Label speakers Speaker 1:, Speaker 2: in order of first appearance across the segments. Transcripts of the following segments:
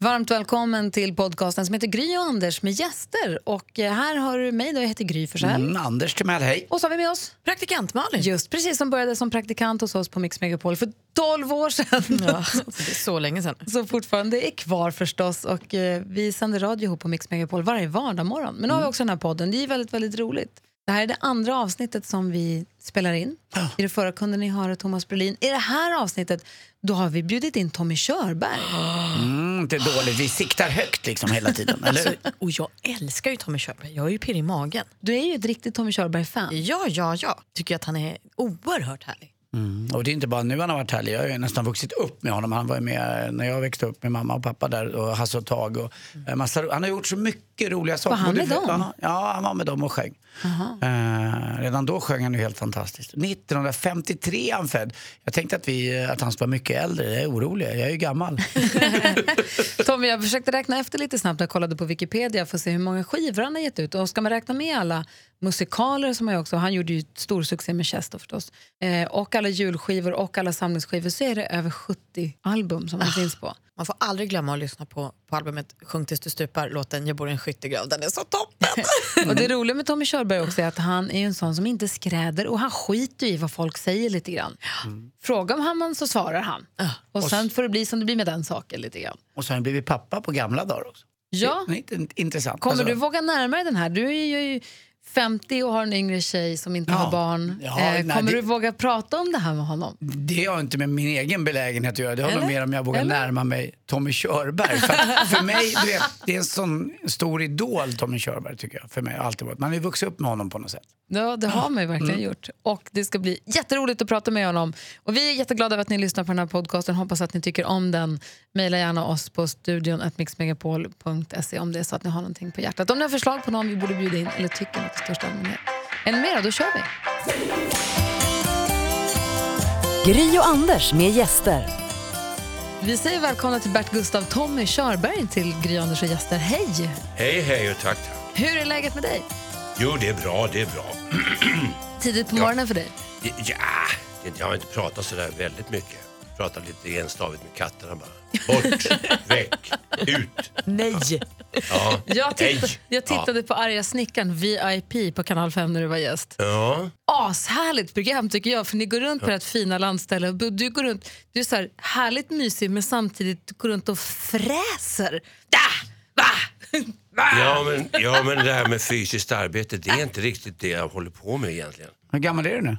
Speaker 1: Varmt välkommen till podcasten som heter Gry och Anders med gäster. Och eh, här har du mig, då jag heter Gry Forssell.
Speaker 2: Mm, Anders Timell, hej.
Speaker 1: Och så har vi med oss
Speaker 3: Praktikant Malin.
Speaker 1: Just precis, som började som praktikant hos oss på Mix Megapol för 12 år sedan.
Speaker 3: Det är så länge sedan.
Speaker 1: Som fortfarande är kvar förstås. Och eh, vi sänder radio ihop på Mix Megapol varje vardagsmorgon. Men nu har vi också den här podden, det är ju väldigt, väldigt roligt. Det här är det andra avsnittet som vi spelar in. I det förra kunde ni höra Thomas Brolin. I det här avsnittet då har vi bjudit in Tommy Körberg.
Speaker 2: Mm, inte
Speaker 1: Ah.
Speaker 2: dåligt, vi siktar högt liksom hela tiden, eller hur?
Speaker 3: Och jag älskar ju Tommy Körberg. Jag är ju pirrig i magen.
Speaker 1: Du är ju ett riktigt Tommy Körberg-fan.
Speaker 3: Ja, ja, ja. Tycker att han är oerhört härlig.
Speaker 2: Mm. Och det är inte bara nu han har varit härlig, jag har ju nästan vuxit upp med honom. Han var ju med när jag växte upp med mamma och pappa där och Hasse och Tag och eh, massa, Han har gjort så mycket roliga saker.
Speaker 1: Mm. han
Speaker 2: Både
Speaker 1: med
Speaker 2: för-
Speaker 1: dem?
Speaker 2: han- Ja, han var med dem och sjöng. Eh, redan då sjöng han ju helt fantastiskt. 1953 är han född. Jag tänkte att, vi, att han skulle vara mycket äldre, jag är orolig, jag är ju gammal.
Speaker 1: Tommy, jag försökte räkna efter lite snabbt när jag kollade på Wikipedia för att se hur många skivor han har gett ut. Och ska man räkna med alla musikaler som han också, han gjorde ju stor succé med Chester förstås, eh, och alla julskivor och alla samlingsskivor så är det över 70 album som han finns på.
Speaker 3: Man får aldrig glömma att lyssna på, på albumet Sjung tills du stupar, låten Jag bor i en skyttegrav. Den är så toppen!
Speaker 1: Och det roliga med Tommy Körberg också är att han är ju en sån som inte skräder och han skiter ju i vad folk säger lite grann. Fråga om han så svarar han. Och sen får det bli som det blir med den saken lite grann.
Speaker 2: Och så har han blivit pappa på gamla dagar också.
Speaker 1: Ja.
Speaker 2: Det är inte int- intressant.
Speaker 1: Kommer
Speaker 2: Alltså-
Speaker 1: du våga närma dig den här? Du är ju 50 och har en yngre tjej som inte
Speaker 2: Ja.
Speaker 1: har barn.
Speaker 2: Ja,
Speaker 1: eh,
Speaker 2: nej,
Speaker 1: kommer
Speaker 2: det-
Speaker 1: du våga prata om det här med honom?
Speaker 2: Det har inte med min egen belägenhet att göra. Det har nog
Speaker 1: Eller?
Speaker 2: mer om jag vågar
Speaker 1: Eller?
Speaker 2: närma mig Tommy Körberg. För, att för mig, du vet, det är en sån stor idol Tommy Körberg tycker jag. För mig har alltid varit. Man har ju vuxit upp med honom på något sätt.
Speaker 1: Ja, det har man ju verkligen gjort. Och Det ska bli jätteroligt att prata med honom. Och Vi är jätteglada över att ni lyssnar på den här podcasten. Hoppas att ni tycker om den. Maila gärna oss på studion mixmegapol.se om det är så att ni har någonting på hjärtat. Om ni har förslag på någon vi borde bjuda in eller tycker något i största allmänhet. Är ni med då? Då kör vi!
Speaker 4: Gry och Anders med gäster.
Speaker 1: Vi säger välkomna till Bert Gustav Tommy Körberg till Gry Anders och gäster. Hej!
Speaker 5: Hej, hej och tack, tack.
Speaker 1: Hur är läget med dig?
Speaker 5: Jo, det är bra, det är bra.
Speaker 1: Tidigt på morgonen för dig?
Speaker 5: Det- Ja, det- jag har inte pratat så där väldigt mycket. Pratat lite enstavigt med katterna bara. Bort, väck, ut.
Speaker 3: Nej!
Speaker 5: Ja.
Speaker 1: Jag, titta,
Speaker 5: Nej.
Speaker 1: jag tittade på Arga snickaren VIP på Kanal 5 när du var gäst.
Speaker 5: Ja.
Speaker 1: Ashärligt program tycker jag, för ni går runt på det här fina landstället. och Du, går runt, du är så här härligt mysig men samtidigt går runt och fräser. Da! Va! Va!
Speaker 5: Ja. Ja, men, ja, men det här med fysiskt arbete, det är inte riktigt det jag håller på med egentligen.
Speaker 2: Hur gammal är du nu?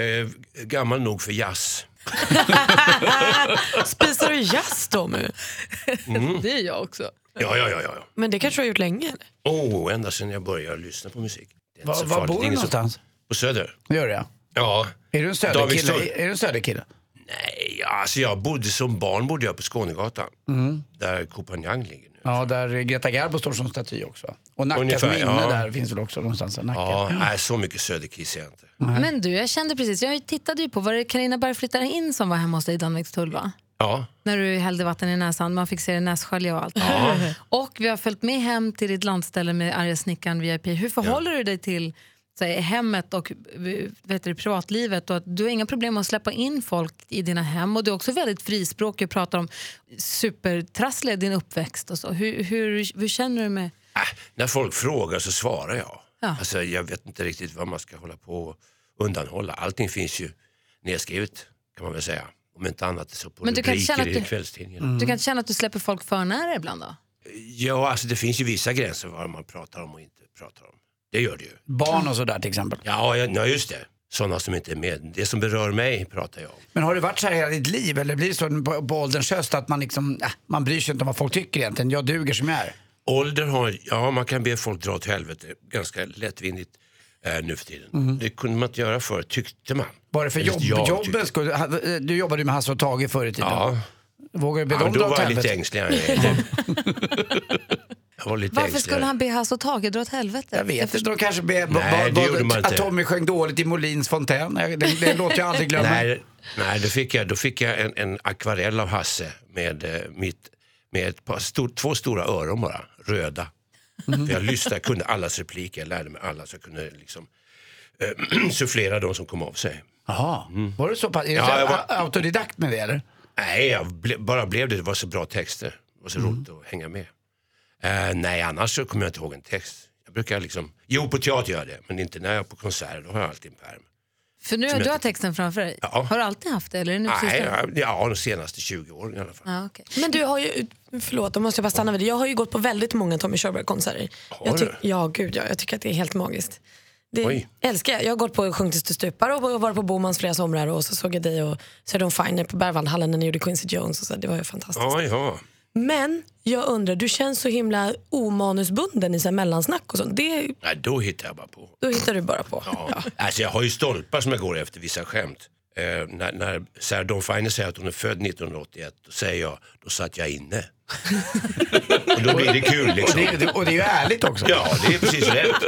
Speaker 5: Eh, gammal nog för jazz.
Speaker 3: Spisar du jazz Tommy?
Speaker 1: Det är jag också.
Speaker 5: Ja, ja, ja. ja.
Speaker 3: Men det kanske du har gjort länge? eller?
Speaker 5: Oh, ända sedan jag började lyssna på musik. Det är inte
Speaker 2: Var,
Speaker 5: så
Speaker 2: var
Speaker 5: farligt.
Speaker 2: bor du
Speaker 5: Ingen som-
Speaker 2: någonstans?
Speaker 5: På Söder.
Speaker 2: Det gör jag.
Speaker 5: Ja.
Speaker 2: Är du en
Speaker 5: Davidsson.
Speaker 2: söderkille? Är, är du en söderkille?
Speaker 5: Nej, ja, alltså jag bodde som barn bodde jag på Skånegatan. Där Kopanjang ligger nu.
Speaker 2: Ja, där Greta Garbo står som staty också. Och Nackas
Speaker 5: Ungefär,
Speaker 2: minne
Speaker 5: ja.
Speaker 2: där finns väl också någonstans? Nacka.
Speaker 5: Ja, nej, så mycket söderkis är jag inte.
Speaker 1: Men du, jag kände precis, jag tittade ju på, var det Carina Berg flyttar in som var hemma hos dig i Danvikstull va?
Speaker 5: Ja,
Speaker 1: När du hällde vatten i näsan, man fick se det nässkölja och allt. Och vi har följt med hem till ditt landställe med arga snickaren VIP. Hur förhåller du dig till så här, hemmet och vet du, privatlivet? Och att du har inga problem med att släppa in folk i dina hem och du är också väldigt frispråkig och pratar om supertrassliga din uppväxt och så. Hur, hur, hur känner du med...
Speaker 5: Äh, när folk frågar så svarar jag.
Speaker 1: Ja.
Speaker 5: Alltså, jag vet inte riktigt vad man ska hålla på och undanhålla. Allting finns ju nedskrivet kan man väl säga. Om inte annat så på
Speaker 1: Men du kan
Speaker 5: rubriker
Speaker 1: känna att Mm.
Speaker 5: i
Speaker 1: du-
Speaker 5: kvällstidningarna.
Speaker 1: Du kan inte känna att du släpper folk för nära ibland då?
Speaker 5: Ja, alltså det finns ju vissa gränser vad man pratar om och inte pratar om. Det gör det ju.
Speaker 2: Barn och sådär till exempel.
Speaker 5: Ja, ja, ja just det. Sådana som inte är med. Det som berör mig pratar jag om.
Speaker 2: Men har det varit så här hela ditt liv? Eller blir det så på, på ålderns höst att man liksom, äh, man bryr sig inte om vad folk tycker egentligen. Jag duger som jag är.
Speaker 5: Ålder har, ja man kan be folk dra åt helvete ganska lättvindigt eh, nu för tiden. Det kunde man inte göra förr, tyckte man.
Speaker 2: Mm. Var det för
Speaker 5: Eller
Speaker 2: jobb,
Speaker 5: jag
Speaker 2: jobbens
Speaker 5: tyckte-
Speaker 2: skull? Ha- Du jobbade ju med Hasse och Tage förr i tiden.
Speaker 5: Ja,
Speaker 2: Vågar du be
Speaker 5: ja
Speaker 2: dem
Speaker 5: då
Speaker 2: dra åt
Speaker 5: var jag lite
Speaker 2: helvete?
Speaker 5: ängsligare. jag var lite
Speaker 1: Varför
Speaker 5: ängsligare.
Speaker 1: skulle han be Hasse och Tage dra åt helvete?
Speaker 2: Jag vet inte, de kanske be, b-
Speaker 5: Nej,
Speaker 2: b-
Speaker 5: det gjorde man
Speaker 2: att
Speaker 5: inte.
Speaker 2: Tommy sjöng dåligt i Molins fontän. Jag- Det, det låter jag aldrig glömma.
Speaker 5: Nej, nej då fick jag, då fick jag en, en akvarell av Hasse med, eh, mitt, med ett par, stor, två stora öron bara, röda.
Speaker 2: Mm.
Speaker 5: För jag lyssnade, jag kunde allas repliker, jag lärde mig alla så jag kunde liksom eh, sufflera de som kom av sig.
Speaker 2: Jaha, var du så pass, är du
Speaker 5: Mm. Ja,
Speaker 2: så här
Speaker 5: jag var-
Speaker 2: a- autodidakt med det eller?
Speaker 5: Nej, jag ble, bara blev det. Det var så bra texter. var så roligt att hänga med. Eh, nej, annars så kommer jag inte ihåg en text. Jag brukar liksom, jo på teater gör jag det, men inte när jag är på konserter, då har jag alltid en pärm.
Speaker 1: För nu har du har texten framför dig.
Speaker 5: Ja.
Speaker 1: Har du alltid haft det? Eller är det nu precis
Speaker 5: Nej,
Speaker 1: nu?
Speaker 5: ja, ja, de senaste 20 åren i alla fall.
Speaker 1: Ja, okej.
Speaker 6: Men du har ju, förlåt, då måste jag bara stanna vid det. Jag har ju gått på väldigt många Tommy Körberg-konserter.
Speaker 5: Har
Speaker 6: Jag
Speaker 5: du?
Speaker 6: tyck- ja, gud ja. Jag tycker att det är helt magiskt. Det
Speaker 5: Oj.
Speaker 6: älskar jag. Jag har gått på Sjung tills du stupar och och varit på Bomans flera somrar och så såg jag dig och Söderholm Finer på Berwaldhallen när ni gjorde Quincy Jones och så. Det var ju fantastiskt.
Speaker 5: Ja, ja.
Speaker 6: Men jag undrar, du känns så himla omanusbunden i så här mellansnack och sånt. Det,
Speaker 5: Nej, då hittar jag bara på.
Speaker 6: då hittar du bara på.
Speaker 5: Ja. Alltså jag har ju stolpar som jag går efter vissa skämt. Eh, när när Sarah Dawn Finer säger att hon är född 1981, då säger jag, då satt jag inne. och då blir det kul
Speaker 2: Och
Speaker 5: liksom.
Speaker 2: det, det- och det är ju ärligt också.
Speaker 5: Ja, det är precis rätt.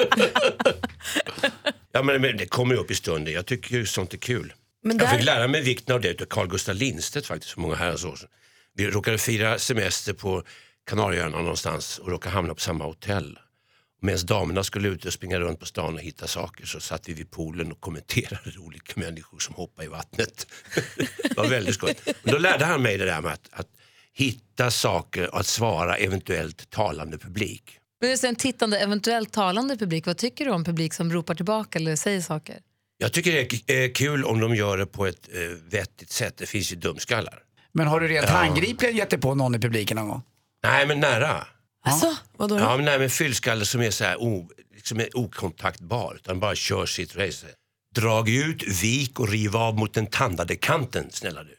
Speaker 5: Ja, men, men det kommer ju upp i stunden. Jag tycker ju sånt är kul.
Speaker 6: Men
Speaker 5: Jag
Speaker 6: där-
Speaker 5: fick lära mig vikten av det utav Carl Gustaf Lindstedt faktiskt för många herrans år sedan. Vi råkade fira semester på Kanarieöarna någonstans och råkade hamna på samma hotell. Medan damerna skulle ut och springa runt på stan och hitta saker så satt vi vid poolen och kommenterade olika människor som hoppade i vattnet. det var väldigt skoj. Men då lärde han mig det där med att, att hitta saker och att svara eventuellt talande publik.
Speaker 1: Men just en tittande, eventuellt talande publik, vad tycker du om publik som ropar tillbaka eller säger saker?
Speaker 5: Jag tycker det är k- eh, kul om de gör det på ett eh, vettigt sätt. Det finns ju dumskallar.
Speaker 2: Men har du rent handgripligen gett dig på någon i publiken någon gång?
Speaker 5: Nej, men nära.
Speaker 6: Alltså, vadå då?
Speaker 5: Ja, men, nej, men fyllskalle som är så här o, liksom är okontaktbar, utan bara kör sitt race. Drag ut, vik och riv av mot den tandade kanten, snälla du.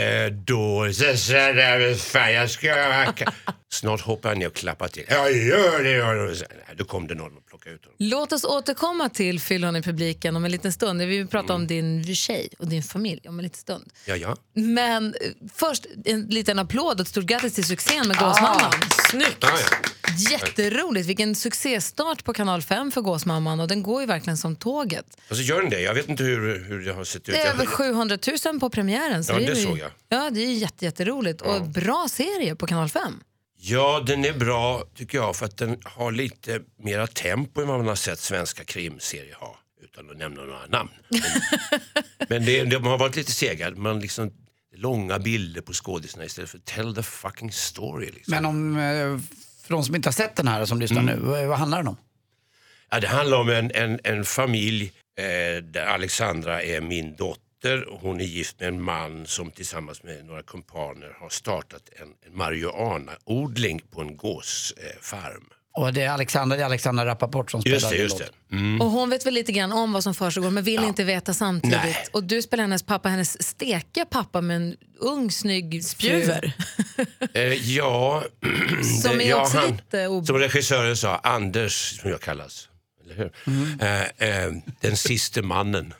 Speaker 5: eh, då... så- så där, Fan, jag ska... Snart hoppar jag ner och klappar till. Ja, gör det! Gör det. Så- nej, Då kom det någon och plockade ut honom.
Speaker 1: Låt oss återkomma till fyllon i publiken om en liten stund. Vi vill prata om din tjej och din familj om en liten stund.
Speaker 5: Ja, ja.
Speaker 1: Men eh, först en liten applåd och ett stort grattis till succén med Gåsmamman.
Speaker 6: Ah, Snyggt!
Speaker 5: ja, ja.
Speaker 1: Jätteroligt! Vilken succéstart på Kanal 5 för Gåsmamman och den går ju verkligen som tåget.
Speaker 5: Alltså, gör den det? Jag vet inte hur, hur det har sett ut.
Speaker 1: Det är över
Speaker 5: Jag,
Speaker 1: 700 000 på premiären. Så
Speaker 5: Ja,
Speaker 1: är
Speaker 5: det
Speaker 1: ju-
Speaker 5: såg jag.
Speaker 1: Ja, det är ju jätte, jätteroligt och bra serie på Kanal 5.
Speaker 5: Ja, den är bra tycker jag för att den har lite mera tempo än vad man har sett svenska krimserier ha. Utan att nämna några namn. Men, men det, de har varit lite sega. Man liksom, långa bilder på skådisarna istället för tell the fucking story. Liksom.
Speaker 2: Men om, eh, för de som inte har sett den här och som lyssnar
Speaker 5: Mm.
Speaker 2: nu, vad, vad handlar den om?
Speaker 5: Ja, det handlar om en, en, en familj eh, där Alexandra är min dotter. och Hon är gift med en man som tillsammans med några kumpaner har startat en, en marijuanaodling på en gåsfarm. Eh, farm.
Speaker 2: Och det är Alexandra, det är Alexandra Rappaport som spelar
Speaker 5: just det,
Speaker 2: din
Speaker 5: just
Speaker 2: låt.
Speaker 5: det. Mm.
Speaker 1: Och hon vet väl lite grann om vad som försiggår men vill inte veta samtidigt.
Speaker 5: Nej.
Speaker 1: Och du spelar hennes pappa, hennes stekiga pappa med en ung snygg fru.
Speaker 6: Bjuver.
Speaker 5: Eh, ja,
Speaker 1: Som
Speaker 5: det-
Speaker 1: är också lite ob-
Speaker 5: Som regissören sa, Anders, som jag kallas. Eller hur?
Speaker 1: Mm.
Speaker 5: Eh, eh, den siste mannen.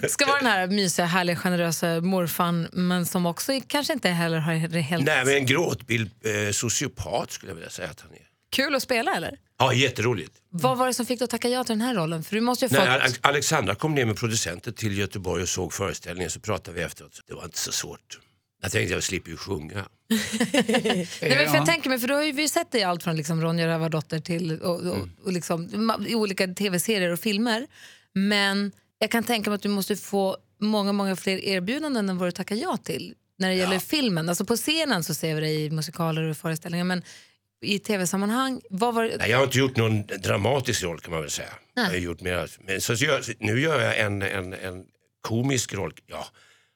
Speaker 1: Det ska vara den här mysiga, härliga, generösa morfan men som också är- kanske inte heller har det helt
Speaker 5: Nej, men en gråtbild eh, sociopat skulle jag vilja säga att han är.
Speaker 1: kul att spela eller?
Speaker 5: Ja, jätteroligt.
Speaker 1: Vad var det som fick dig att tacka ja till den här rollen? För du måste ju ha
Speaker 5: När
Speaker 1: fått...
Speaker 5: Al- Alexandra kom ner med producenten till Göteborg och såg föreställningen så pratade vi efteråt. Det var inte så svårt. Jag tänkte jag slipper ju sjunga.
Speaker 1: Nej, men för
Speaker 2: Ja.
Speaker 1: jag tänker mig, för då har ju vi sett dig i allt från liksom Ronja Rövardotter till och, och, och liksom, ma- i olika tv-serier och filmer. Men jag kan tänka mig att du måste få många, många fler erbjudanden än vad du tackar ja till när det gäller filmen. Alltså på scenen så ser vi dig i musikaler och föreställningar men i tv-sammanhang, vad var det?
Speaker 5: Nej, jag har inte gjort någon dramatisk roll kan man väl säga. Jag har gjort mer, men så gör, nu gör jag en, en, en komisk roll. Ja,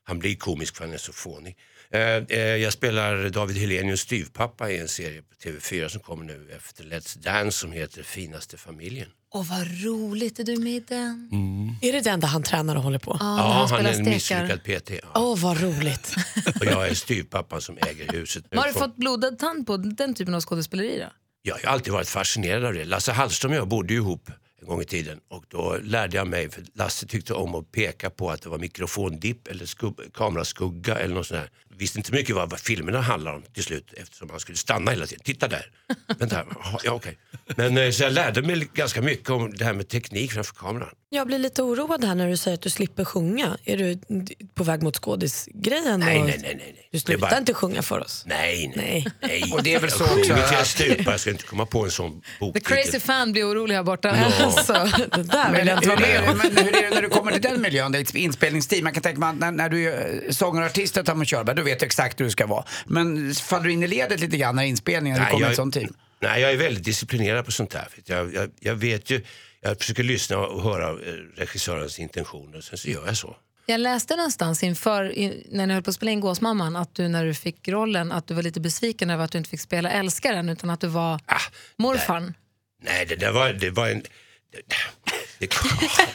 Speaker 5: han blir komisk för han är så fånig. Eh, eh, jag spelar David Helenius styvpappa i en serie på TV4 som kommer nu efter Let's Dance som heter Finaste familjen.
Speaker 1: Åh vad roligt, är du med i den?
Speaker 6: Är det den där han tränar och håller på? Åh,
Speaker 1: Ja, när
Speaker 5: ja, han,
Speaker 1: spelar
Speaker 5: är en
Speaker 1: stekar.
Speaker 5: misslyckad PT. Ja.
Speaker 6: vad roligt.
Speaker 5: Och jag är styvpappan som äger huset.
Speaker 1: Vad har du fått blodad tand på den typen av skådespeleri då?
Speaker 5: Jag har alltid varit fascinerad av det. Lasse Hallström och jag bodde ju ihop en gång i tiden och då lärde jag mig, för Lasse tyckte om att peka på att det var mikrofondipp eller skub- kameraskugga eller något sånt där. visste inte mycket vad filmerna handlar om till slut eftersom man skulle stanna hela tiden. Titta där. Vänta, jaha, ja, okej. Men eh, så jag lärde mig ganska mycket om det här med teknik framför kameran.
Speaker 6: Jag blir lite oroad här när du säger att du slipper sjunga. Är du på väg mot skådisgrejen?
Speaker 5: Nej,
Speaker 6: och-
Speaker 5: nej, nej. nej, nej.
Speaker 6: Du
Speaker 5: Det är
Speaker 6: slutar
Speaker 5: bara-
Speaker 6: inte sjunga för oss?
Speaker 5: Nej, nej, nej.
Speaker 2: Och det är väl så
Speaker 5: jag
Speaker 2: också
Speaker 5: sjunger till jag
Speaker 2: att-
Speaker 5: stupar, jag ska inte komma på en sån bok.
Speaker 1: The crazy fan blir orolig här borta.
Speaker 6: Alltså, det där vill jag inte vara
Speaker 2: Hur
Speaker 6: med
Speaker 2: är, det, men hur är det när du kommer till den miljön, det är ett inspelningsteam? Man kan tänka mig att när, när du är sångare och artist och Tommy Körberg, då vet du exakt hur du ska vara. Men faller du in i ledet lite grann när inspelningen, när du kommer i ett sånt team?
Speaker 5: Nej, jag är väldigt disciplinerad på sånt där. För att Jag, jag, jag vet ju, jag försöker lyssna och höra eh, regissörens intentioner, sen så gör jag så.
Speaker 1: Jag läste någonstans inför, i- när ni höll på att spela in Gåsmamman att du när du fick rollen att du var lite besviken över att du inte fick spela älskaren utan att du var
Speaker 5: Ah,
Speaker 1: morfarn.
Speaker 5: nej, det där var, det var en... Det, det, åh,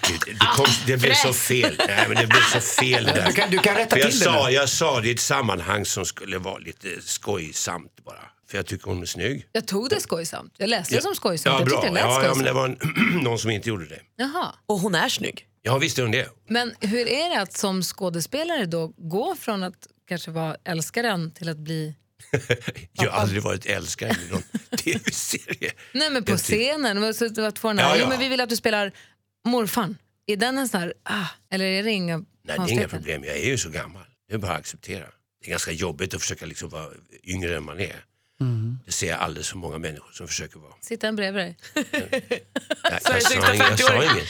Speaker 5: Gud, det, kom, det blev så fel. Nej, men det blev så fel det
Speaker 2: Du
Speaker 5: där.
Speaker 2: kan, du kan rätta
Speaker 5: För jag,
Speaker 2: till det
Speaker 5: sa,
Speaker 2: nu.
Speaker 5: jag sa det i ett sammanhang som skulle vara lite skojsamt bara. För jag tycker hon är snygg.
Speaker 1: Jag tog det skojsamt. Jag läste det som skojsamt.
Speaker 5: Ja,
Speaker 1: jag
Speaker 5: bra.
Speaker 1: tyckte det lät
Speaker 5: ja, ja, men
Speaker 1: skojsamt.
Speaker 5: det var en, någon som inte gjorde det.
Speaker 1: Jaha.
Speaker 6: Och hon är snygg.
Speaker 5: Ja, visst är hon det.
Speaker 1: Men hur är det att som skådespelare då gå från att kanske vara älskaren till att bli...
Speaker 5: Jag har aldrig varit älskad i någon tv-serie.
Speaker 1: Nej men på
Speaker 5: Jag ty-
Speaker 1: scenen. men så- Att få den här,
Speaker 5: typ. Ja, ja.
Speaker 1: Jo, men vi vill att du spelar morfarn. Är den en sån här... Ah, eller är det inga
Speaker 5: Nej, det är inga
Speaker 1: konstigheter?
Speaker 5: problem. Jag är ju så gammal. Det är bara att acceptera. Det är ganska jobbigt att försöka liksom vara yngre än man är. Det ser jag alldeles för många människor som försöker vara.
Speaker 1: Sitter en bredvid dig?
Speaker 5: Jag, jag, sa, inget, jag, sa, inget.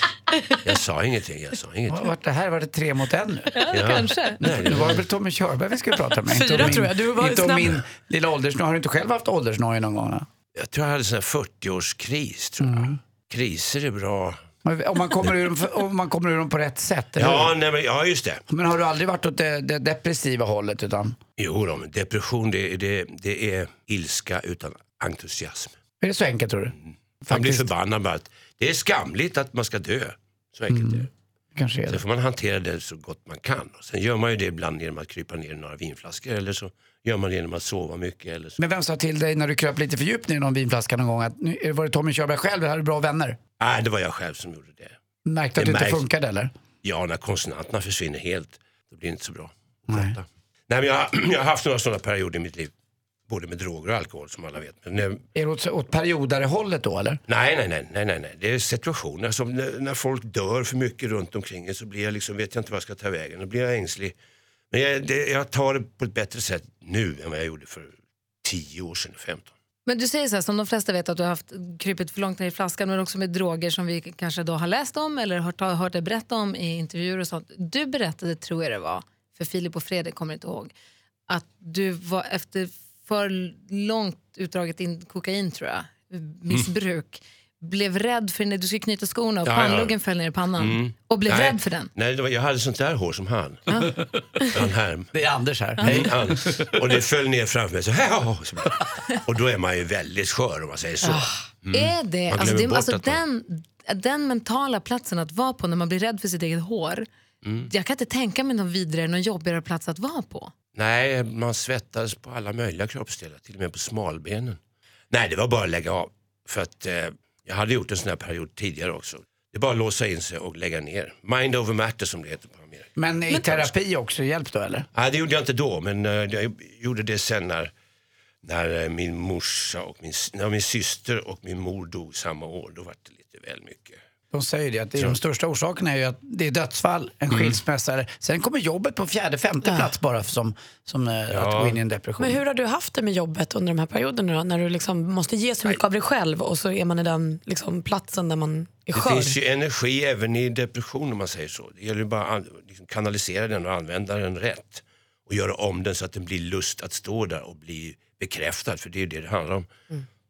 Speaker 5: jag sa ingenting. Jag sa inget.
Speaker 2: Vad Vart det här? Var det tre mot en nu?
Speaker 5: Ja.
Speaker 1: Kanske.
Speaker 5: Nej,
Speaker 2: Nu
Speaker 5: det
Speaker 2: var
Speaker 5: var...
Speaker 2: det väl Tommy Körberg vi skulle prata med?
Speaker 6: Fyra
Speaker 2: om min,
Speaker 6: tror jag. Du var
Speaker 2: Inte om
Speaker 6: snabb.
Speaker 2: min lilla åldersnoja. Har du inte själv haft åldersnoja någon gång? då?
Speaker 5: Jag tror jag hade en sån här 40-årskris. Tror jag. Kriser är bra.
Speaker 2: Om man kommer ur dem, för- om man kommer ur dem på rätt sätt? eller
Speaker 5: Ja, nej, men, ja just det.
Speaker 2: hur? Men har du aldrig varit åt det, det depressiva hållet? Utan,
Speaker 5: Jo, då, men depression det, är- det, det är ilska utan entusiasm.
Speaker 2: är det så enkelt tror du?
Speaker 5: Man blir
Speaker 2: Faktiskt.
Speaker 5: förbannad bara att det är skamligt att man ska dö. Så enkelt är det.
Speaker 2: Kanske är
Speaker 5: Sen
Speaker 2: det.
Speaker 5: får man hantera det så gott man kan. Och sen gör man ju det ibland genom att krypa ner i några vinflaskor eller så gör man det genom att sova mycket. Eller så.
Speaker 2: Men vem sa till dig när du kröp lite för djupt ner i någon vinflaska någon gång att nu, var det Tommy Körberg själv eller hade du bra vänner?
Speaker 5: Nej, det var jag själv som gjorde det.
Speaker 2: Märkte att
Speaker 5: Det
Speaker 2: du inte
Speaker 5: märks.
Speaker 2: funkade eller?
Speaker 5: Ja, när konsonanterna försvinner helt, då blir det inte så bra.
Speaker 2: Nej.
Speaker 5: Nej, men jag, jag har haft några sådana perioder i mitt liv. Både med droger och alkohol som alla vet. Men, nej,
Speaker 2: Är det åt, åt periodarehållet då eller?
Speaker 5: nej, nej, nej, nej, nej. Det är situationer som när, när folk dör för mycket runt omkring en så blir jag liksom, vet jag inte vad jag ska ta vägen. Då blir jag ängslig. Men jag, det, jag tar det på ett bättre sätt nu än vad jag gjorde för 10 år sedan, 15.
Speaker 1: Men du säger så här, som de flesta vet att du har haft krypit för långt ner i flaskan men också med droger som vi kanske då har läst om eller hört, har hört dig berätta om i intervjuer och sånt. Du berättade, tror jag det var, för Filip och Fredrik kommer jag inte ihåg, att du var efter för långt utdraget in kokain tror jag, missbruk, blev rädd för när du skulle knyta skorna och
Speaker 5: Mm. Ja, ja.
Speaker 1: pannluggen föll ner i pannan och blev
Speaker 5: Nej.
Speaker 1: rädd för den.
Speaker 5: Nej, det var, jag hade sånt där hår som han. Han här.
Speaker 2: Det är Anders här.
Speaker 5: Hej, han. Och det föll ner framför mig. Så här, och så bara. Och då är man ju väldigt skör om man säger så.
Speaker 1: Ah. Är det,
Speaker 5: Man
Speaker 1: alltså, det
Speaker 5: Mm. glömmer bort
Speaker 1: alltså
Speaker 5: att man-
Speaker 1: den, den mentala platsen att vara på när man blir rädd för sitt eget hår.
Speaker 5: Mm.
Speaker 1: Jag kan inte tänka mig någon vidare, någon jobbigare plats att vara på.
Speaker 5: Nej, man svettades på alla möjliga kroppsdelar. Till och med på smalbenen. Nej, det var bara att lägga av. För att eh, jag hade gjort en sån här period tidigare också. Det är bara att låsa in sig och lägga ner. Mind over matter som det heter på Amerika.
Speaker 2: Men i terapi också, hjälp då eller?
Speaker 5: Nej, det gjorde jag inte då, men eh, jag gjorde det sen när, när eh, min morsa och min, s- när min syster och min mor dog samma år. Då var det lite väl mycket.
Speaker 2: De säger det att det är de största orsakerna är ju att det är dödsfall, en skilsmässa. eller- Sen kommer jobbet på fjärde, femte plats bara för som, som eh, att gå in i en depression.
Speaker 6: Men hur har du haft det med jobbet under de här perioderna då? När du liksom måste ge så mycket av dig själv och så är man i den liksom platsen där man är
Speaker 5: Det
Speaker 6: skör.
Speaker 5: finns ju energi även i depression om man säger så. Det gäller ju bara att an- liksom kanalisera den och använda den rätt. Och göra om den så att den blir lust att stå där och bli bekräftad. För det är ju det det handlar om.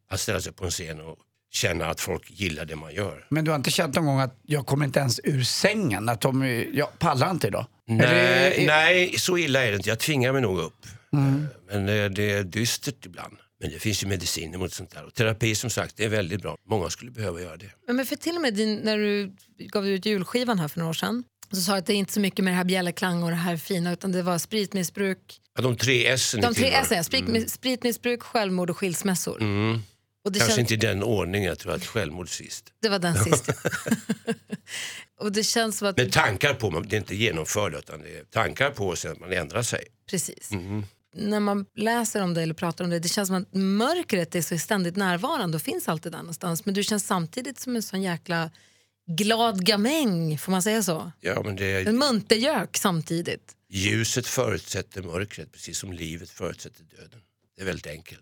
Speaker 5: Att ställa sig på en scen och känna att folk gillar det man gör.
Speaker 2: Men du har inte känt någon gång att jag kommer inte ens ur sängen? Att de, jag pallar inte idag? Eller-
Speaker 5: Nej, nej, så illa är det inte. Jag tvingar mig nog upp. Eh, Men det, det är dystert ibland. Men det finns ju mediciner mot sånt där. Och terapi som sagt, det är väldigt bra. Många skulle behöva göra det.
Speaker 1: Ja, Men för till och med din, när du gav ut julskivan här för några år sedan så sa jag att det är inte så mycket med det här bjällerklang och det här fina utan det var spritmissbruk,
Speaker 5: Ja, de tre S Mm.
Speaker 1: de tre S, sprit, spritmissbruk, självmord och skilsmässor. Och det,
Speaker 5: Kanske
Speaker 1: känns,
Speaker 5: inte i den ordningen, jag tror att självmord sist.
Speaker 1: det var den sist. och det känns som att...
Speaker 5: Men tankar på, man, det är inte genomförda utan det är tankar på och sen att man ändrar sig.
Speaker 1: Precis. När man läser om det eller pratar om det, det känns som att mörkret är så ständigt närvarande och finns alltid där någonstans. Men du känns samtidigt som en sån jäkla glad gamäng, får man säga så?
Speaker 5: Ja, men det
Speaker 1: En muntergök samtidigt.
Speaker 5: Ljuset förutsätter mörkret, precis som livet förutsätter döden. Det är väldigt enkelt.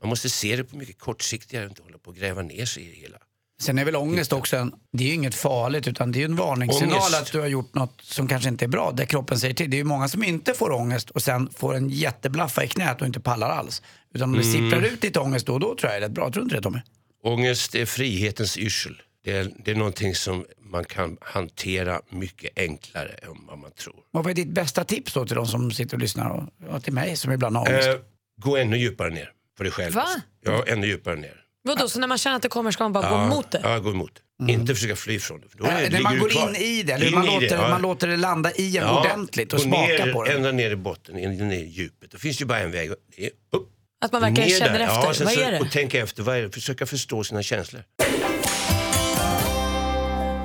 Speaker 5: Man måste se det på mycket kortsiktigare och inte hålla på och gräva ner sig i det hela.
Speaker 2: Sen är väl ångest också en, det är ju inget farligt utan det är ju en varningssignal
Speaker 5: Ångest.
Speaker 2: att du har gjort något som kanske inte är bra, där kroppen säger till. Det är ju många som inte får ångest och sen får en jätteblaffa i knät och inte pallar alls. Utan om
Speaker 5: Mm.
Speaker 2: det sipprar ut lite ångest då och då tror jag det är rätt bra. Tror du inte det Tommy?
Speaker 5: Ångest är frihetens yrsel. Det är, det är någonting som man kan hantera mycket enklare än vad man tror.
Speaker 2: Vad är ditt bästa tips då till de som sitter och lyssnar och, och till mig som ibland har ångest?
Speaker 5: Eh, gå ännu djupare ner på dig själv.
Speaker 1: Va?
Speaker 5: Ja, ännu djupare ner.
Speaker 6: Vadå, så när man känner att det kommer ska man bara
Speaker 5: ja,
Speaker 6: gå mot det?
Speaker 5: Ja, gå emot. Inte försöka fly från det. för Då
Speaker 2: Mm. Eh,
Speaker 5: ligger
Speaker 2: när man
Speaker 5: du
Speaker 2: går
Speaker 5: kvar.
Speaker 2: in i det,
Speaker 5: In
Speaker 2: man,
Speaker 5: i
Speaker 2: låter,
Speaker 5: ja.
Speaker 2: man låter det landa i en ordentligt och
Speaker 5: gå
Speaker 2: smaka
Speaker 5: ner,
Speaker 2: på det.
Speaker 5: Ända ner i botten, in- ner i djupet. Det finns ju bara en väg. och Det är upp.
Speaker 6: Att man verkligen
Speaker 5: Ner
Speaker 6: känner
Speaker 5: där. Ja,
Speaker 6: efter,
Speaker 5: sen
Speaker 6: vad
Speaker 5: så-
Speaker 6: är det?
Speaker 5: Och tänka efter, vad är det? Försöka förstå sina känslor.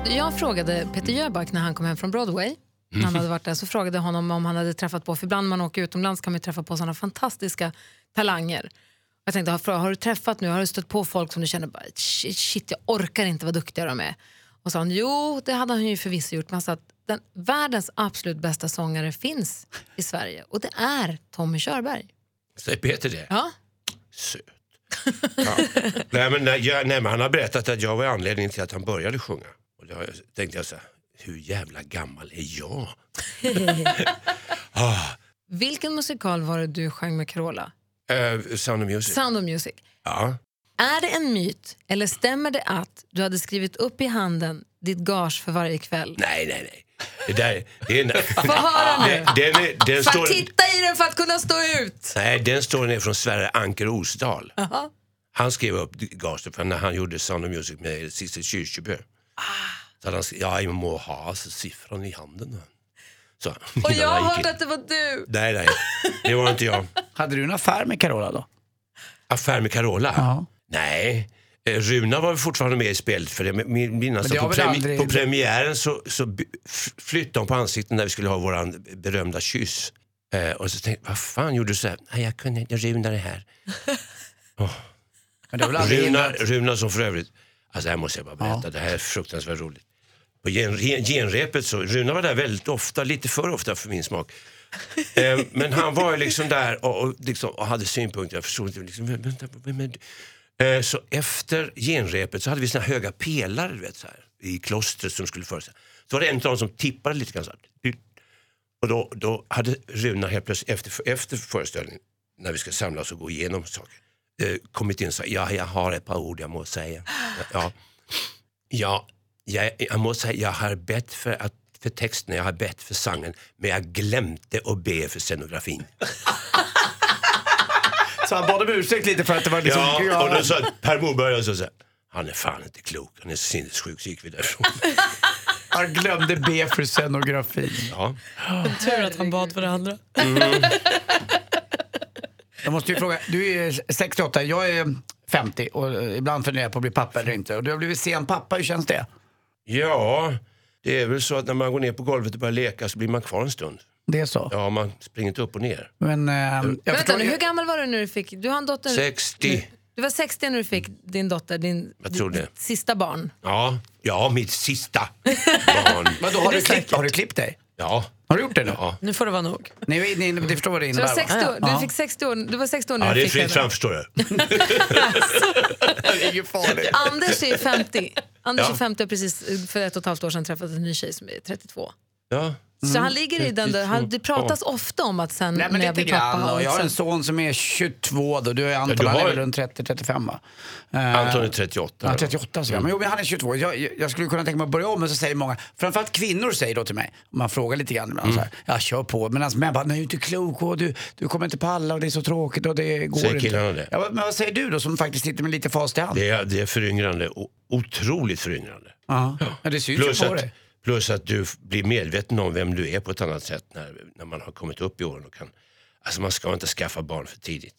Speaker 1: Jag frågade Peter Jöback när han kom hem från Broadway. när Han hade varit där, så frågade jag honom om han hade träffat på, för ibland när man åker utomlands kan man ju träffa på sådana fantastiska talanger. Jag tänkte, har, har du träffat nu, har du stött på folk som du känner bara, shit, shit jag orkar inte vad duktiga de är. Och sa han, jo det hade han ju förvisso gjort, men han sa att den, världens absolut bästa sångare finns i Sverige och det är Tommy Körberg.
Speaker 5: Säger Peter det?
Speaker 1: Ja,
Speaker 5: Söt. Ja. nej, men, nej, jag, nej, men han har berättat att jag var anledningen till att han började sjunga. Och då har jag- tänkte jag så här, hur jävla gammal är jag? ah,
Speaker 1: vilken musikal var det du sjöng med Carola?
Speaker 5: eh, Sound of Music.
Speaker 1: Sound of Music.
Speaker 5: ja.
Speaker 1: Är det en myt eller stämmer det att du hade skrivit upp i handen ditt gage för varje kväll?
Speaker 5: Nej, nej, nej. Det där det är en...
Speaker 1: Få höra nu!
Speaker 5: Den, den, är- den,
Speaker 1: För att
Speaker 5: står,
Speaker 1: titta i den för att kunna stå ut!
Speaker 5: nej, den står ner från Sverre Anker Osdal.
Speaker 1: Jaha.
Speaker 5: Han skrev upp Gaster för när han gjorde Sound of Music med Sissel Kyrkjebø. Så hade han skrivit, ja, jag må ha alltså, siffran i handen. Så,
Speaker 1: Och
Speaker 5: innan
Speaker 1: jag
Speaker 5: han gick
Speaker 1: hörde
Speaker 5: in.
Speaker 1: att det var du!
Speaker 5: Nej, nej, det var inte jag.
Speaker 2: Hade du en affär med Carola då?
Speaker 5: Affär med Carola?
Speaker 2: Ja.
Speaker 5: Nej. Eh, Runa var väl fortfarande med i spelet för det men min- minnas
Speaker 2: det
Speaker 5: att
Speaker 2: har
Speaker 5: på,
Speaker 2: väl
Speaker 5: premi-
Speaker 2: aldrig-
Speaker 5: på premiären så, så by- f- flyttade hon på ansiktet när vi skulle ha våran berömda kyss. Eh, och så tänkte jag, vad fan gjorde du så här? Nej, jag kunde inte, Runa det här.
Speaker 2: Men det har väl aldrig
Speaker 5: Runa,
Speaker 2: hindrat-
Speaker 5: Runa som för övrigt, alltså det här måste jag bara berätta, det här är fruktansvärt roligt. På gen, gen, genrepet så, Runa var där väldigt ofta, lite för ofta för min smak. eh, men han var ju liksom där och, och, liksom, och hade synpunkter, jag förstod inte, liksom, "Vä- vänta, vem är du?" eh, Så efter genrepet så hade vi såna höga pelare du vet, så här, i klostret som skulle föreställa. Så var det en av dem som tippade lite grann så här. Och då, då hade Runa helt plötsligt efter, efter föreställningen, när vi ska samlas och gå igenom saker, eh, kommit in och sagt ja, jag har ett par ord jag måste säga. Ja, ja jag, jag måste säga jag har bett för, att, för texten, jag har bett för sangen, men jag glömde att be för scenografin.
Speaker 2: Så han bad om ursäkt lite för att det var liksom...
Speaker 5: Ja, och då sa Per Morberg och så, så här, han är fan inte klok, han är sinnessjuk, så gick vi därifrån.
Speaker 2: Han glömde B för scenografin.
Speaker 5: Ja.
Speaker 6: Tur att han bad för det andra.
Speaker 2: Jag måste ju fråga, du är 68, jag är 50 och eh, ibland funderar jag på att bli pappa eller inte. Och du har blivit sen pappa, hur känns det?
Speaker 5: ja, det är väl så att när man går ner på golvet och börjar leka så blir man kvar en stund.
Speaker 2: Det är så.
Speaker 5: Ja, man springer inte upp och ner.
Speaker 2: Men eh, jag
Speaker 1: Men
Speaker 2: förstår
Speaker 1: vänta nu,
Speaker 2: ju-
Speaker 1: hur gammal var du när du fick... Du, har en dotter,
Speaker 5: 60.
Speaker 1: du var 60 när du fick din dotter, din
Speaker 5: Jag tror det.
Speaker 1: ditt sista barn.
Speaker 5: Ja, ja mitt sista barn.
Speaker 2: Vadå, har, du klippt, har du klippt dig?
Speaker 5: Ja,
Speaker 2: Har du gjort det nu?
Speaker 5: Ja.
Speaker 6: Nu får det vara nog.
Speaker 2: Ni, ni, ni förstår vad det
Speaker 1: Du var
Speaker 2: innebär?
Speaker 1: 60
Speaker 2: va?
Speaker 1: år, du fick 60 år, du var 60 år när
Speaker 5: Ah, ja
Speaker 1: du
Speaker 5: det är
Speaker 1: fick
Speaker 5: fritt
Speaker 1: henne.
Speaker 5: fram förstår du.
Speaker 2: Det är ju farligt.
Speaker 1: Anders är ju 50. Anders
Speaker 5: Ja.
Speaker 1: är 50 och precis för ett och ett halvt år sedan träffat en ny tjej som är 32.
Speaker 5: Ja.
Speaker 1: Så han ligger i den där, han, det pratas ofta om att sen
Speaker 2: Nej, men
Speaker 1: när jag
Speaker 2: lite
Speaker 1: blir pappa...
Speaker 2: grann.
Speaker 1: och
Speaker 2: Och jag har
Speaker 1: sen-
Speaker 2: en son som är 22 då. Du är Anton,
Speaker 5: Ja, du
Speaker 2: han är
Speaker 5: har-
Speaker 2: väl runt 30-35 va?
Speaker 5: Anton är 38.
Speaker 2: Ja, 38 så jag. Men jo, men han är 22. Jag, jag- jag skulle kunna tänka mig att börja om, men så säger många, framförallt kvinnor säger då till mig, om man frågar lite grann ibland så här,
Speaker 5: Mm.
Speaker 2: jag kör på. Men alltså, män bara, nej du är inte klok och du, du kommer inte palla och det är så tråkigt och det går
Speaker 5: Säger
Speaker 2: inte.
Speaker 5: killarna det?
Speaker 2: Ja, men vad säger du då som faktiskt sitter med lite fast i hand?
Speaker 5: Det är, det är föryngrande, o- otroligt föryngrande.
Speaker 2: Ja. Ja, det syns
Speaker 5: Plus
Speaker 2: ju på
Speaker 5: att,
Speaker 2: dig.
Speaker 5: plus att du f- blir medveten om vem du är på ett annat sätt när, när man har kommit upp i åren. Och kan, alltså man ska inte skaffa barn för tidigt.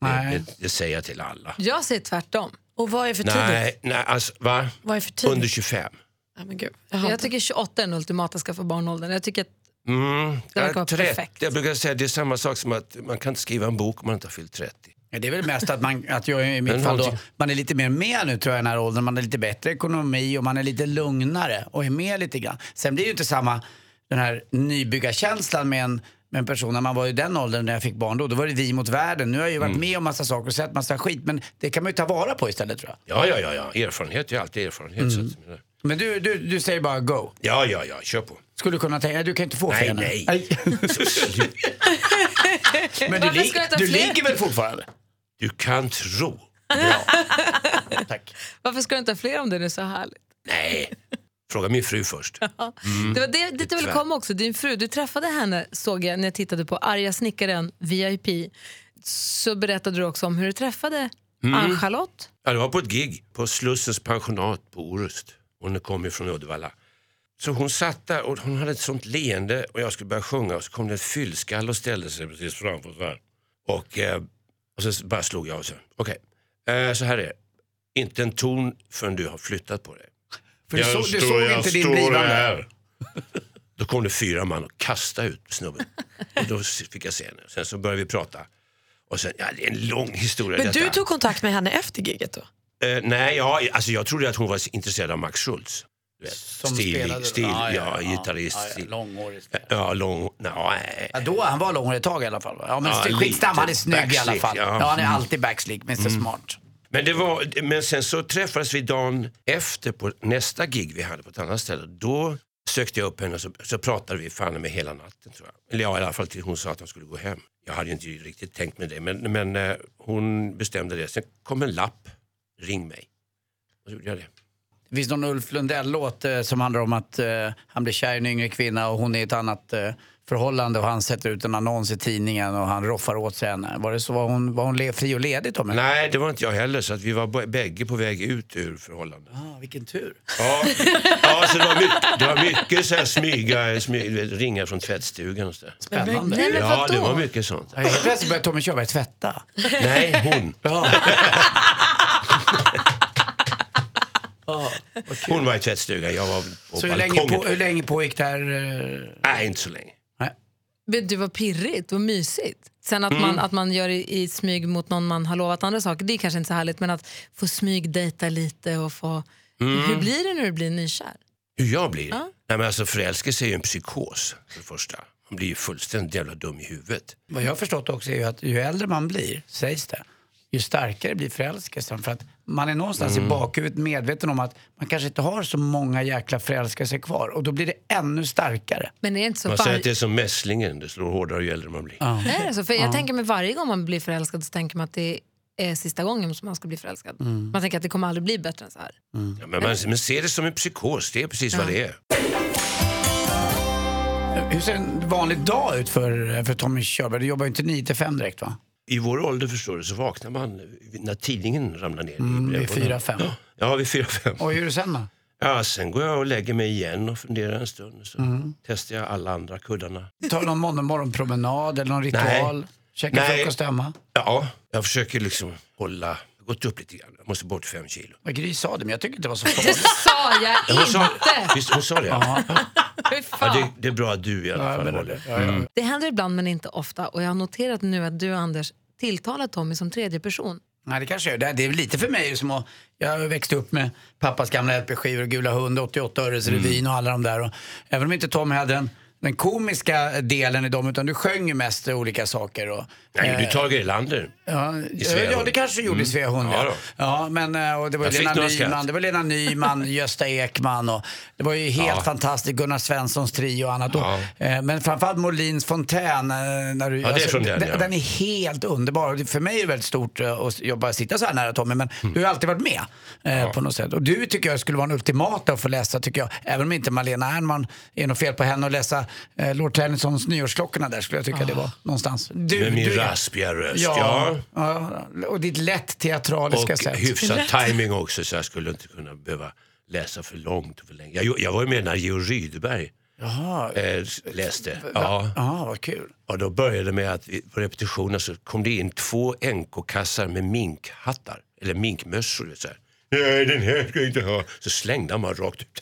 Speaker 5: Det, det, det säger jag till alla.
Speaker 1: Jag säger tvärtom.
Speaker 6: Och vad är för tidigt?
Speaker 5: Nej, nej alltså, va?
Speaker 6: Vad är för tidigt?
Speaker 5: Under 25.
Speaker 6: Nej, men gud. Jag har
Speaker 1: Jag
Speaker 6: inte-
Speaker 1: tycker 28 är den ultimata ska få barnåldern. Jag tycker att
Speaker 5: Mm.
Speaker 1: Det verkar vara
Speaker 5: 30.
Speaker 1: perfekt.
Speaker 5: Jag brukar säga att det är samma sak som att man kan inte skriva en bok om man inte har fyllt 30.
Speaker 2: Ja, det är väl mest att, man, att jag i mitt
Speaker 5: Men
Speaker 2: fall då,
Speaker 5: någonting-
Speaker 2: man är lite mer med nu tror jag i den här åldern. Man har lite bättre ekonomi och man är lite lugnare och är med lite grann. Sen blir det ju inte samma den här nybyggarkänslan med en, med en person. När man var i den åldern när jag fick barn då, då var det vi mot världen. Nu har jag ju varit
Speaker 5: Mm.
Speaker 2: med om massa saker och sett massa skit. Men det kan man ju ta vara på istället tror jag.
Speaker 5: Ja, ja, ja, ja. Erfarenhet är alltid erfarenhet. Så att,
Speaker 2: Men du, du, du säger bara go.
Speaker 5: ja, ja, ja. Kör på.
Speaker 2: Skulle du kunna tänka, nej, du kan inte få
Speaker 5: Nej,
Speaker 2: fler nu.
Speaker 5: nej.
Speaker 2: Men du,
Speaker 1: Varför
Speaker 2: lig,
Speaker 1: ska jag ta
Speaker 2: du
Speaker 1: fler?
Speaker 2: ligger väl fortfarande?
Speaker 5: Du kan tro.
Speaker 2: Tack.
Speaker 1: varför ska du inte ha fler om det nu är så härligt?
Speaker 5: Nej. Fråga min fru först.
Speaker 1: Det var det, dit jag ville
Speaker 5: Mm. Tyvärr.
Speaker 1: komma också. Din fru, du träffade henne såg jag när jag tittade på Arga snickaren VIP. Så berättade du också om hur du träffade
Speaker 5: Mm.
Speaker 1: Ann-Charlotte.
Speaker 5: Ja, det var på ett gig på Slussens pensionat på Orust. Hon kom ju från Uddevalla. Så hon satt där och hon hade ett sånt leende och jag skulle börja sjunga och så kom det ett fyllskall och ställde sig precis framför så här. Och, eh, och så bara slog jag och så. Okej, eh, så här är det. Inte en ton förrän du har flyttat på dig.
Speaker 2: För du,
Speaker 5: Jag
Speaker 2: såg- du
Speaker 5: står-
Speaker 2: såg
Speaker 5: jag
Speaker 2: inte din
Speaker 5: står
Speaker 2: blivande.
Speaker 5: här. Då kom det fyra man och kastade ut snubben. Och då fick jag se henne. Sen så började vi prata. Och sen, ja, det är en lång historia
Speaker 6: Men
Speaker 5: detta.
Speaker 6: du tog kontakt med henne efter giget då?
Speaker 5: Eh, nej, ja, alltså jag trodde att hon var intresserad av Max Schultz. Du vet,
Speaker 2: Som
Speaker 5: stil,
Speaker 2: spelade-
Speaker 5: stil,
Speaker 2: Ja,
Speaker 5: ja,
Speaker 2: ja, ja.
Speaker 5: gitarrist.
Speaker 2: Ja, ja,
Speaker 5: stil.
Speaker 2: långårig spelare.
Speaker 5: Ja, lång. Nej.
Speaker 2: Ja, då, han var lång ett tag i alla fall. va? Ja, men
Speaker 5: Ja,
Speaker 2: ja,
Speaker 5: lite.
Speaker 2: skitsamma, han är snygg i alla
Speaker 5: Backslick,
Speaker 2: fall. Ja. Mm.
Speaker 5: ja.
Speaker 2: han är alltid backslick, Mr Smart.
Speaker 5: Men, det var, men sen så träffades vi dagen efter på nästa gig vi hade på ett annat ställe. Då sökte jag upp henne och så, så pratade vi fan med hela natten. Tror jag. Eller ja, i alla fall till hon sa att hon skulle gå hem. Jag hade ju inte riktigt tänkt mig det, men, men eh, hon bestämde det. Sen kom en lapp. Ring mig. Och så gjorde jag det.
Speaker 2: Det finns någon Ulf Lundell-låt eh, som handlar om att eh, han blir kär i en yngre kvinna och hon är i ett annat eh, förhållande och han sätter ut en annons i tidningen och han roffar åt sig henne. Var det så? Var hon, var hon le, fri och ledig då? Men...
Speaker 5: Nej, det var inte jag heller, så att vi var b- bägge på väg ut ur förhållandet.
Speaker 2: Ah, vilken tur.
Speaker 5: Ja, ja så det var mycket, det var mycket så här smyga, smy, du vet, ringar från tvättstugan och så där.
Speaker 2: Spännande.
Speaker 1: Nej, men
Speaker 5: Ja, det
Speaker 1: vadå?
Speaker 5: var mycket sånt.
Speaker 2: Ja, Helt plötsligt börjar Tommy Körberg tvätta.
Speaker 5: Nej, hon. Hon var i tvättstugan, jag var på
Speaker 2: Så hur länge,
Speaker 5: balkongen.
Speaker 2: på, hur länge pågick det här? eh,
Speaker 5: Nej, inte så länge.
Speaker 2: Nej.
Speaker 1: Men du var pirrigt och mysigt. Sen att,
Speaker 5: Mm.
Speaker 1: man, att man gör i, i smyg mot någon man har lovat andra saker, det är kanske inte så härligt. Men att få smygdejta lite och få...
Speaker 5: Mm.
Speaker 1: Hur blir det när du blir nykär?
Speaker 5: Hur jag blir? Nej, men alltså, förälskelse är ju en psykos, för det första. Man blir ju fullständigt jävla dum i huvudet.
Speaker 2: Vad jag har förstått också är ju att ju äldre man blir, sägs det, ju starkare blir förälskelsen. För att man är någonstans
Speaker 5: Mm.
Speaker 2: i bakhuvudet medveten om att man kanske inte har så många jäkla förälskelser kvar. Och då blir det ännu starkare.
Speaker 1: Men är det inte så
Speaker 5: Man säger
Speaker 1: varje...
Speaker 5: att det är som mässlingen, det slår hårdare ju äldre man blir.
Speaker 1: Nej, det är så, för jag tänker mig varje gång man blir förälskad så tänker man att det är sista gången som man ska bli förälskad. Man tänker att det kommer aldrig bli bättre än så här.
Speaker 5: Ja, men man men ser det som en psykos, det är precis vad det är.
Speaker 2: Hur ser en vanlig dag ut för, för Tommy Körberg? Du jobbar ju inte 9 till 5 direkt va?
Speaker 5: I vår ålder förstår du så vaknar man när tidningen ramlar ner. i
Speaker 2: Mm, vid
Speaker 5: brevlådan.
Speaker 2: fyra, fem.
Speaker 5: Ja, vid fyra, fem.
Speaker 2: Och hur är det sen då?
Speaker 5: Ja, sen går jag och lägger mig igen och funderar en stund. Så
Speaker 2: Mm.
Speaker 5: testar jag alla andra kuddarna.
Speaker 2: Tar du någon morgon- morgonpromenad eller någon ritual?
Speaker 5: Nej.
Speaker 2: Käkar
Speaker 5: Nej.
Speaker 2: frukost hemma?
Speaker 5: Ja, jag försöker liksom hålla... Jag har gått upp lite grann. Jag måste bort fem kilo.
Speaker 2: Vad Gry sa det, men jag tycker inte det var så
Speaker 1: Det
Speaker 2: farligt.
Speaker 1: sa jag
Speaker 5: Hon sa,
Speaker 1: inte!
Speaker 5: visst, hon sa det? Ja.
Speaker 1: Fy
Speaker 5: Ja,
Speaker 1: fan.
Speaker 5: det, det är bra att du i alla fall håller.
Speaker 1: Det händer ibland men inte ofta och jag har noterat nu att du Anders tilltalar Tommy som tredje person.
Speaker 2: Nej, det kanske jag gör. Det, det är lite för mig som att... Jag växte upp med pappas gamla LP-skivor och Gula Hund, 88 öres revyn och alla de där. Och, även om inte Tommy hade den, den komiska delen i dem, utan du sjöng ju mest olika saker. Och,
Speaker 5: Nej, du tar Grylander.
Speaker 2: ja,
Speaker 5: Svea
Speaker 2: ja, det
Speaker 5: Hund.
Speaker 2: kanske du gjorde i Svea Hund.
Speaker 5: Ja
Speaker 2: Ja,
Speaker 5: då.
Speaker 2: ja men eh, och det var ju
Speaker 5: Jag fick
Speaker 2: Lena
Speaker 5: några skratt.
Speaker 2: Nyman, det var Lena Nyman, Gösta Ekman och det var ju helt
Speaker 5: Ja.
Speaker 2: fantastiskt. Gunnar Svenssons trio och annat.
Speaker 5: Ja.
Speaker 2: Och, eh, men framförallt Molins fontän. eh, När du,
Speaker 5: det är från den,
Speaker 2: den,
Speaker 5: ja.
Speaker 2: den är helt underbar. Och det- För mig är det väldigt stort eh, att jobba, sitta så här nära Tommy, men
Speaker 5: Mm.
Speaker 2: du har ju alltid varit med eh, på något sätt. Och du tycker jag skulle vara en ultimata att få läsa, tycker jag. Även om inte Malena Ernman är något fel på henne att läsa eh, Lord Tennysons Nyårsklockorna där, skulle jag tycka det var någonstans. Du,
Speaker 5: Ah. Med min
Speaker 2: du-
Speaker 5: raspiga röst.
Speaker 2: Ja.
Speaker 5: Ja.
Speaker 2: ja. Och ditt lätt teatraliska
Speaker 5: Och
Speaker 2: sätt.
Speaker 5: hyfsad timing också så jag skulle inte kunna behöva läsa för långt och för länge. Jag, jag var ju med när Georg Rydberg
Speaker 2: Jaha,
Speaker 5: eh, läste. Ja.
Speaker 2: Jaha vad kul.
Speaker 5: Och då började det med att vi- på repetitionen så kom det in två NK-kassar med minkhattar. Eller minkmössor. Så här. Nej, den här ska jag inte ha. Så slängde han bara rakt ut.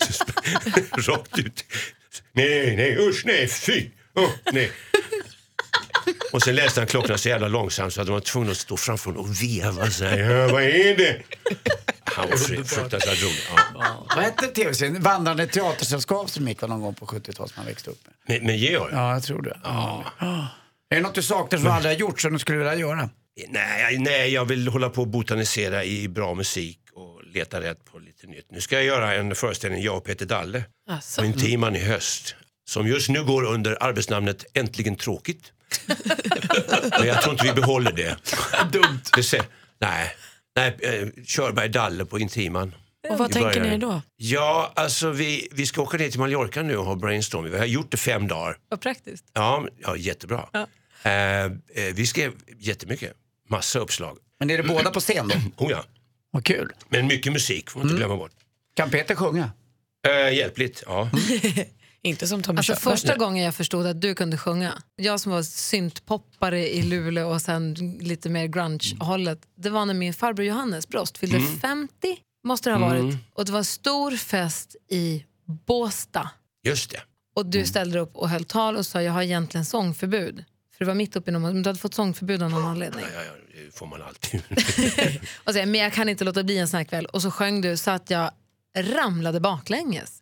Speaker 5: Så sp- rakt ut. Nej, nej, usch, nej, fy. Oh, nej. Och sen läste han klockan så jävla långsamt så att de var tvungna att stå framför honom och veva. Så här, ja, vad är det? Han var fru- fruktansvärt rolig. Ja.
Speaker 2: Vad hette tv-serien? Vandrande teatersällskap som gick väl någon gång på 70-talet som man växte upp med.
Speaker 5: Men, men Georg?
Speaker 2: Ja, jag tror det. Ja. Är det något du saknar som du aldrig har gjort som du skulle vilja göra?
Speaker 5: Nej, nej, jag vill hålla på och botanisera i bra musik och leta rätt på lite nytt. Nu ska jag göra en föreställning, jag och Peter Dalle,
Speaker 3: Alltså.
Speaker 5: på Intiman i höst. Som just nu går under arbetsnamnet Äntligen tråkigt. Men jag tror inte vi behåller det.
Speaker 2: Dumt.
Speaker 5: det ser, nej, nej eh, Körberg Dalle på Intiman.
Speaker 6: Och vad
Speaker 5: Vi
Speaker 6: tänker
Speaker 5: börjar.
Speaker 6: ni då?
Speaker 5: Ja, alltså vi, vi ska åka ner till Mallorca nu och ha brainstorming. Vi har gjort det fem dagar.
Speaker 1: Vad praktiskt.
Speaker 5: Ja, men- ja jättebra. Eh, eh, vi skrev jättemycket, massa uppslag.
Speaker 2: Men är det båda på scen då?
Speaker 5: Oh, ja.
Speaker 2: Vad kul.
Speaker 5: Men mycket musik får man inte
Speaker 2: Mm.
Speaker 5: glömma bort.
Speaker 2: Kan Peter sjunga?
Speaker 5: Eh, hjälpligt, ja.
Speaker 6: Inte som Tommy
Speaker 1: Alltså
Speaker 6: Körberg.
Speaker 1: första gången jag förstod att du kunde sjunga, jag som var syntpoppare i Luleå och sen lite mer grunge-hållet, det var när min farbror Johannes Brost fyllde 50, måste det ha varit, och det var stor fest i Båsta.
Speaker 5: Just det.
Speaker 1: Och du ställde dig upp och höll tal och sa jag har egentligen sångförbud. För du var mitt uppe i någon, men du hade fått sångförbud av någon anledning.
Speaker 5: Ja, ja, det får man alltid.
Speaker 1: Och så, men jag kan inte låta bli en sån här kväll. Och så sjöng du så att jag ramlade baklänges.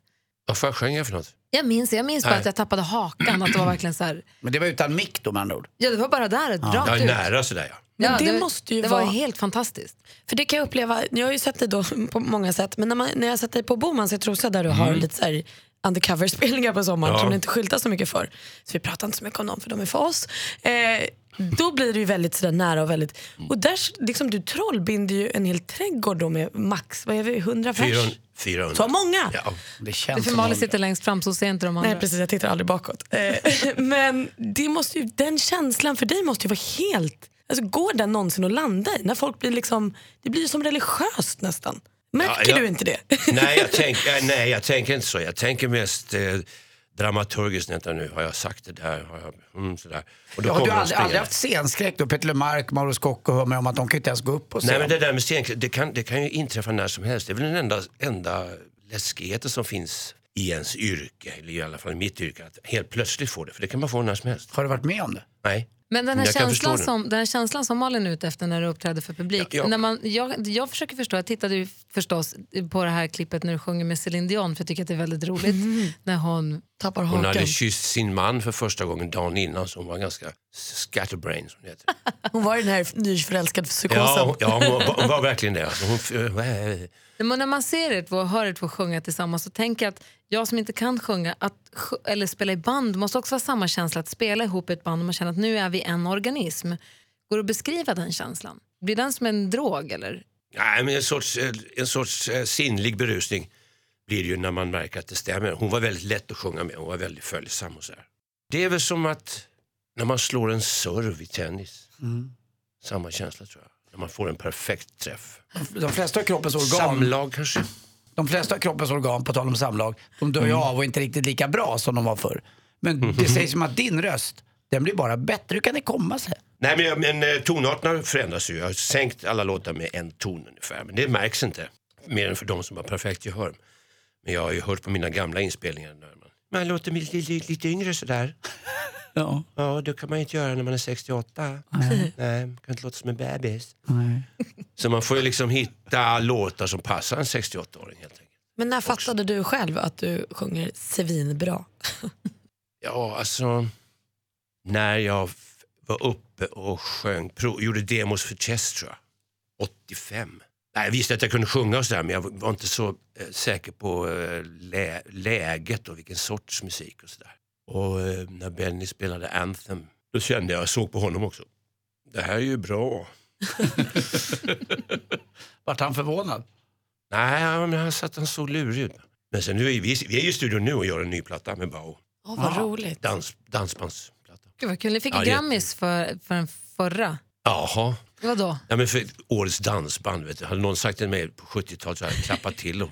Speaker 5: Vad fan sjöng jag för något?
Speaker 1: Jag minns, jag minns bara
Speaker 5: Nej.
Speaker 1: att jag tappade hakan. Att det var verkligen så här,
Speaker 2: Men det var utan mick då med andra ord.
Speaker 1: ja, det var bara där, rakt
Speaker 5: Ja,
Speaker 1: ut.
Speaker 5: nära sådär ja.
Speaker 1: Ja,
Speaker 6: Men det måste ju
Speaker 1: det var
Speaker 6: vara-
Speaker 1: helt fantastiskt.
Speaker 6: För det kan jag uppleva, jag har ju sett dig då på många sätt, men när, man, när jag har sett dig på Bomans i Trosa där du har lite så här undercover-spelningar på sommaren
Speaker 5: Mm. Ja.
Speaker 6: som du inte skyltar så mycket för, så vi pratar inte så mycket om dem för de är för oss. Eh, då blir det ju väldigt sådär nära och väldigt, och där s- liksom du trollbinder ju en hel trädgård då med max, vad är vi, 100
Speaker 5: 400.
Speaker 6: pers?
Speaker 5: 400.
Speaker 6: Så många!
Speaker 5: Ja.
Speaker 2: Det
Speaker 1: Det är
Speaker 2: känns
Speaker 1: för
Speaker 2: som
Speaker 1: Malin
Speaker 2: någon-
Speaker 1: sitter längst fram så ser inte de andra.
Speaker 6: Nej precis, jag tittar aldrig bakåt. Eh, men det måste ju, den känslan för dig måste ju vara helt, alltså går den någonsin att landa i? När folk blir liksom, det blir ju som religiöst nästan. Märker
Speaker 5: Ja, ja.
Speaker 6: du inte det?
Speaker 5: Nej, jag tänk, eh, nej, jag tänker inte så. Jag tänker mest eh, dramaturgiskt. Vänta nu, har jag sagt det där? Har jag, mm, sådär. Och då
Speaker 2: Ja, har
Speaker 5: kommer
Speaker 2: du aldrig,
Speaker 5: de
Speaker 2: aldrig
Speaker 5: springande.
Speaker 2: haft scenskräck då? Peter Lemark, Mauro Scocco hör mig om att de kan ju inte ens gå upp på scen.
Speaker 5: Nej, men det där med scenkläder, det kan, det kan ju inträffa när som helst. Det är väl den enda, enda läskigheten som finns i ens yrke, eller i alla fall i mitt yrke, att helt plötsligt få det. För det kan man få när som helst.
Speaker 2: Har du varit med om det?
Speaker 5: Nej.
Speaker 1: Men den här,
Speaker 5: Jag kan förstå
Speaker 1: känslan
Speaker 5: det.
Speaker 1: som, den här känslan som Malin är ute efter när du uppträder för publik.
Speaker 5: Ja, ja.
Speaker 1: När man, jag, jag försöker förstå, jag tittade ju förstås på det här klippet när du sjunger med Céline Dion för jag tycker att det är väldigt roligt. När hon
Speaker 6: Tappar
Speaker 5: Hon
Speaker 6: hakan.
Speaker 5: hade kysst sin man för första gången dagen innan så hon var ganska scatterbrain som det heter.
Speaker 6: Hon var ju den här nyförälskade psykosen.
Speaker 5: Ja, hon, ja, hon, var, hon var verkligen det. Alltså, hon, eh,
Speaker 1: Men när man ser er två och hör er två sjunga tillsammans så tänker jag att jag som inte kan sjunga att, sj- eller spela i band måste också ha samma känsla att spela ihop i ett band och man känner att nu är vi en organism. Går det att beskriva den känslan? Blir den som en drog eller?
Speaker 5: nej, men en sorts, eh, en sorts eh, sinnlig berusning blir det ju när man märker att det stämmer. Hon var väldigt lätt att sjunga med, hon var väldigt följsam och så här. Det är väl som att när man slår en serve i tennis. Samma känsla tror jag. När man får en perfekt träff.
Speaker 2: De flesta av kroppens organ,
Speaker 5: Samlag kanske?
Speaker 2: de flesta av kroppens organ på tal om samlag, de dör ju av och är inte riktigt lika bra som de var förr. Men det sägs som att din röst, den blir bara bättre. Hur kan det komma sig?
Speaker 5: Nej, men, men eh, tonarterna förändras ju. Jag har sänkt alla låtar med en ton ungefär. Men det märks inte. Mer än för de som har perfekt gehör. Men jag har ju hört på mina gamla inspelningar. När man, man låter mig li, li, lite yngre sådär.
Speaker 2: Ja.
Speaker 5: Ja, det kan man ju inte göra när man är 68. Nej, man kan inte låta som en bebis. Så man får ju liksom hitta låtar som passar en 68-åring helt enkelt.
Speaker 6: Men när fattade du själv att du sjunger svinbra?
Speaker 5: Ja, alltså. När jag f- var uppe och sjöng, pro, gjorde demos för Chess tror jag. 85. Nej, jag visste att jag kunde sjunga och sådär men jag var inte så eh, säker på eh, lä, läget och vilken sorts musik och sådär. Och eh, när Benny spelade Anthem, då kände jag, jag såg på honom också. Det här är ju bra.
Speaker 2: Vart han förvånad?
Speaker 5: Nej, men han satt han såg lurig ut. Men sen nu är vi, vi är ju i studion nu och gör en ny platta med Bao.
Speaker 6: Åh, vad roligt.
Speaker 5: Dans, dansbandsplatta.
Speaker 1: Gud vad kul, ni fick
Speaker 5: Ja,
Speaker 1: Grammis för, för den förra.
Speaker 5: Jaha.
Speaker 1: Vadå?
Speaker 5: Ja, men för årets dansband, vet du. hade någon sagt till mig på 70-talet så hade jag klappat till dem.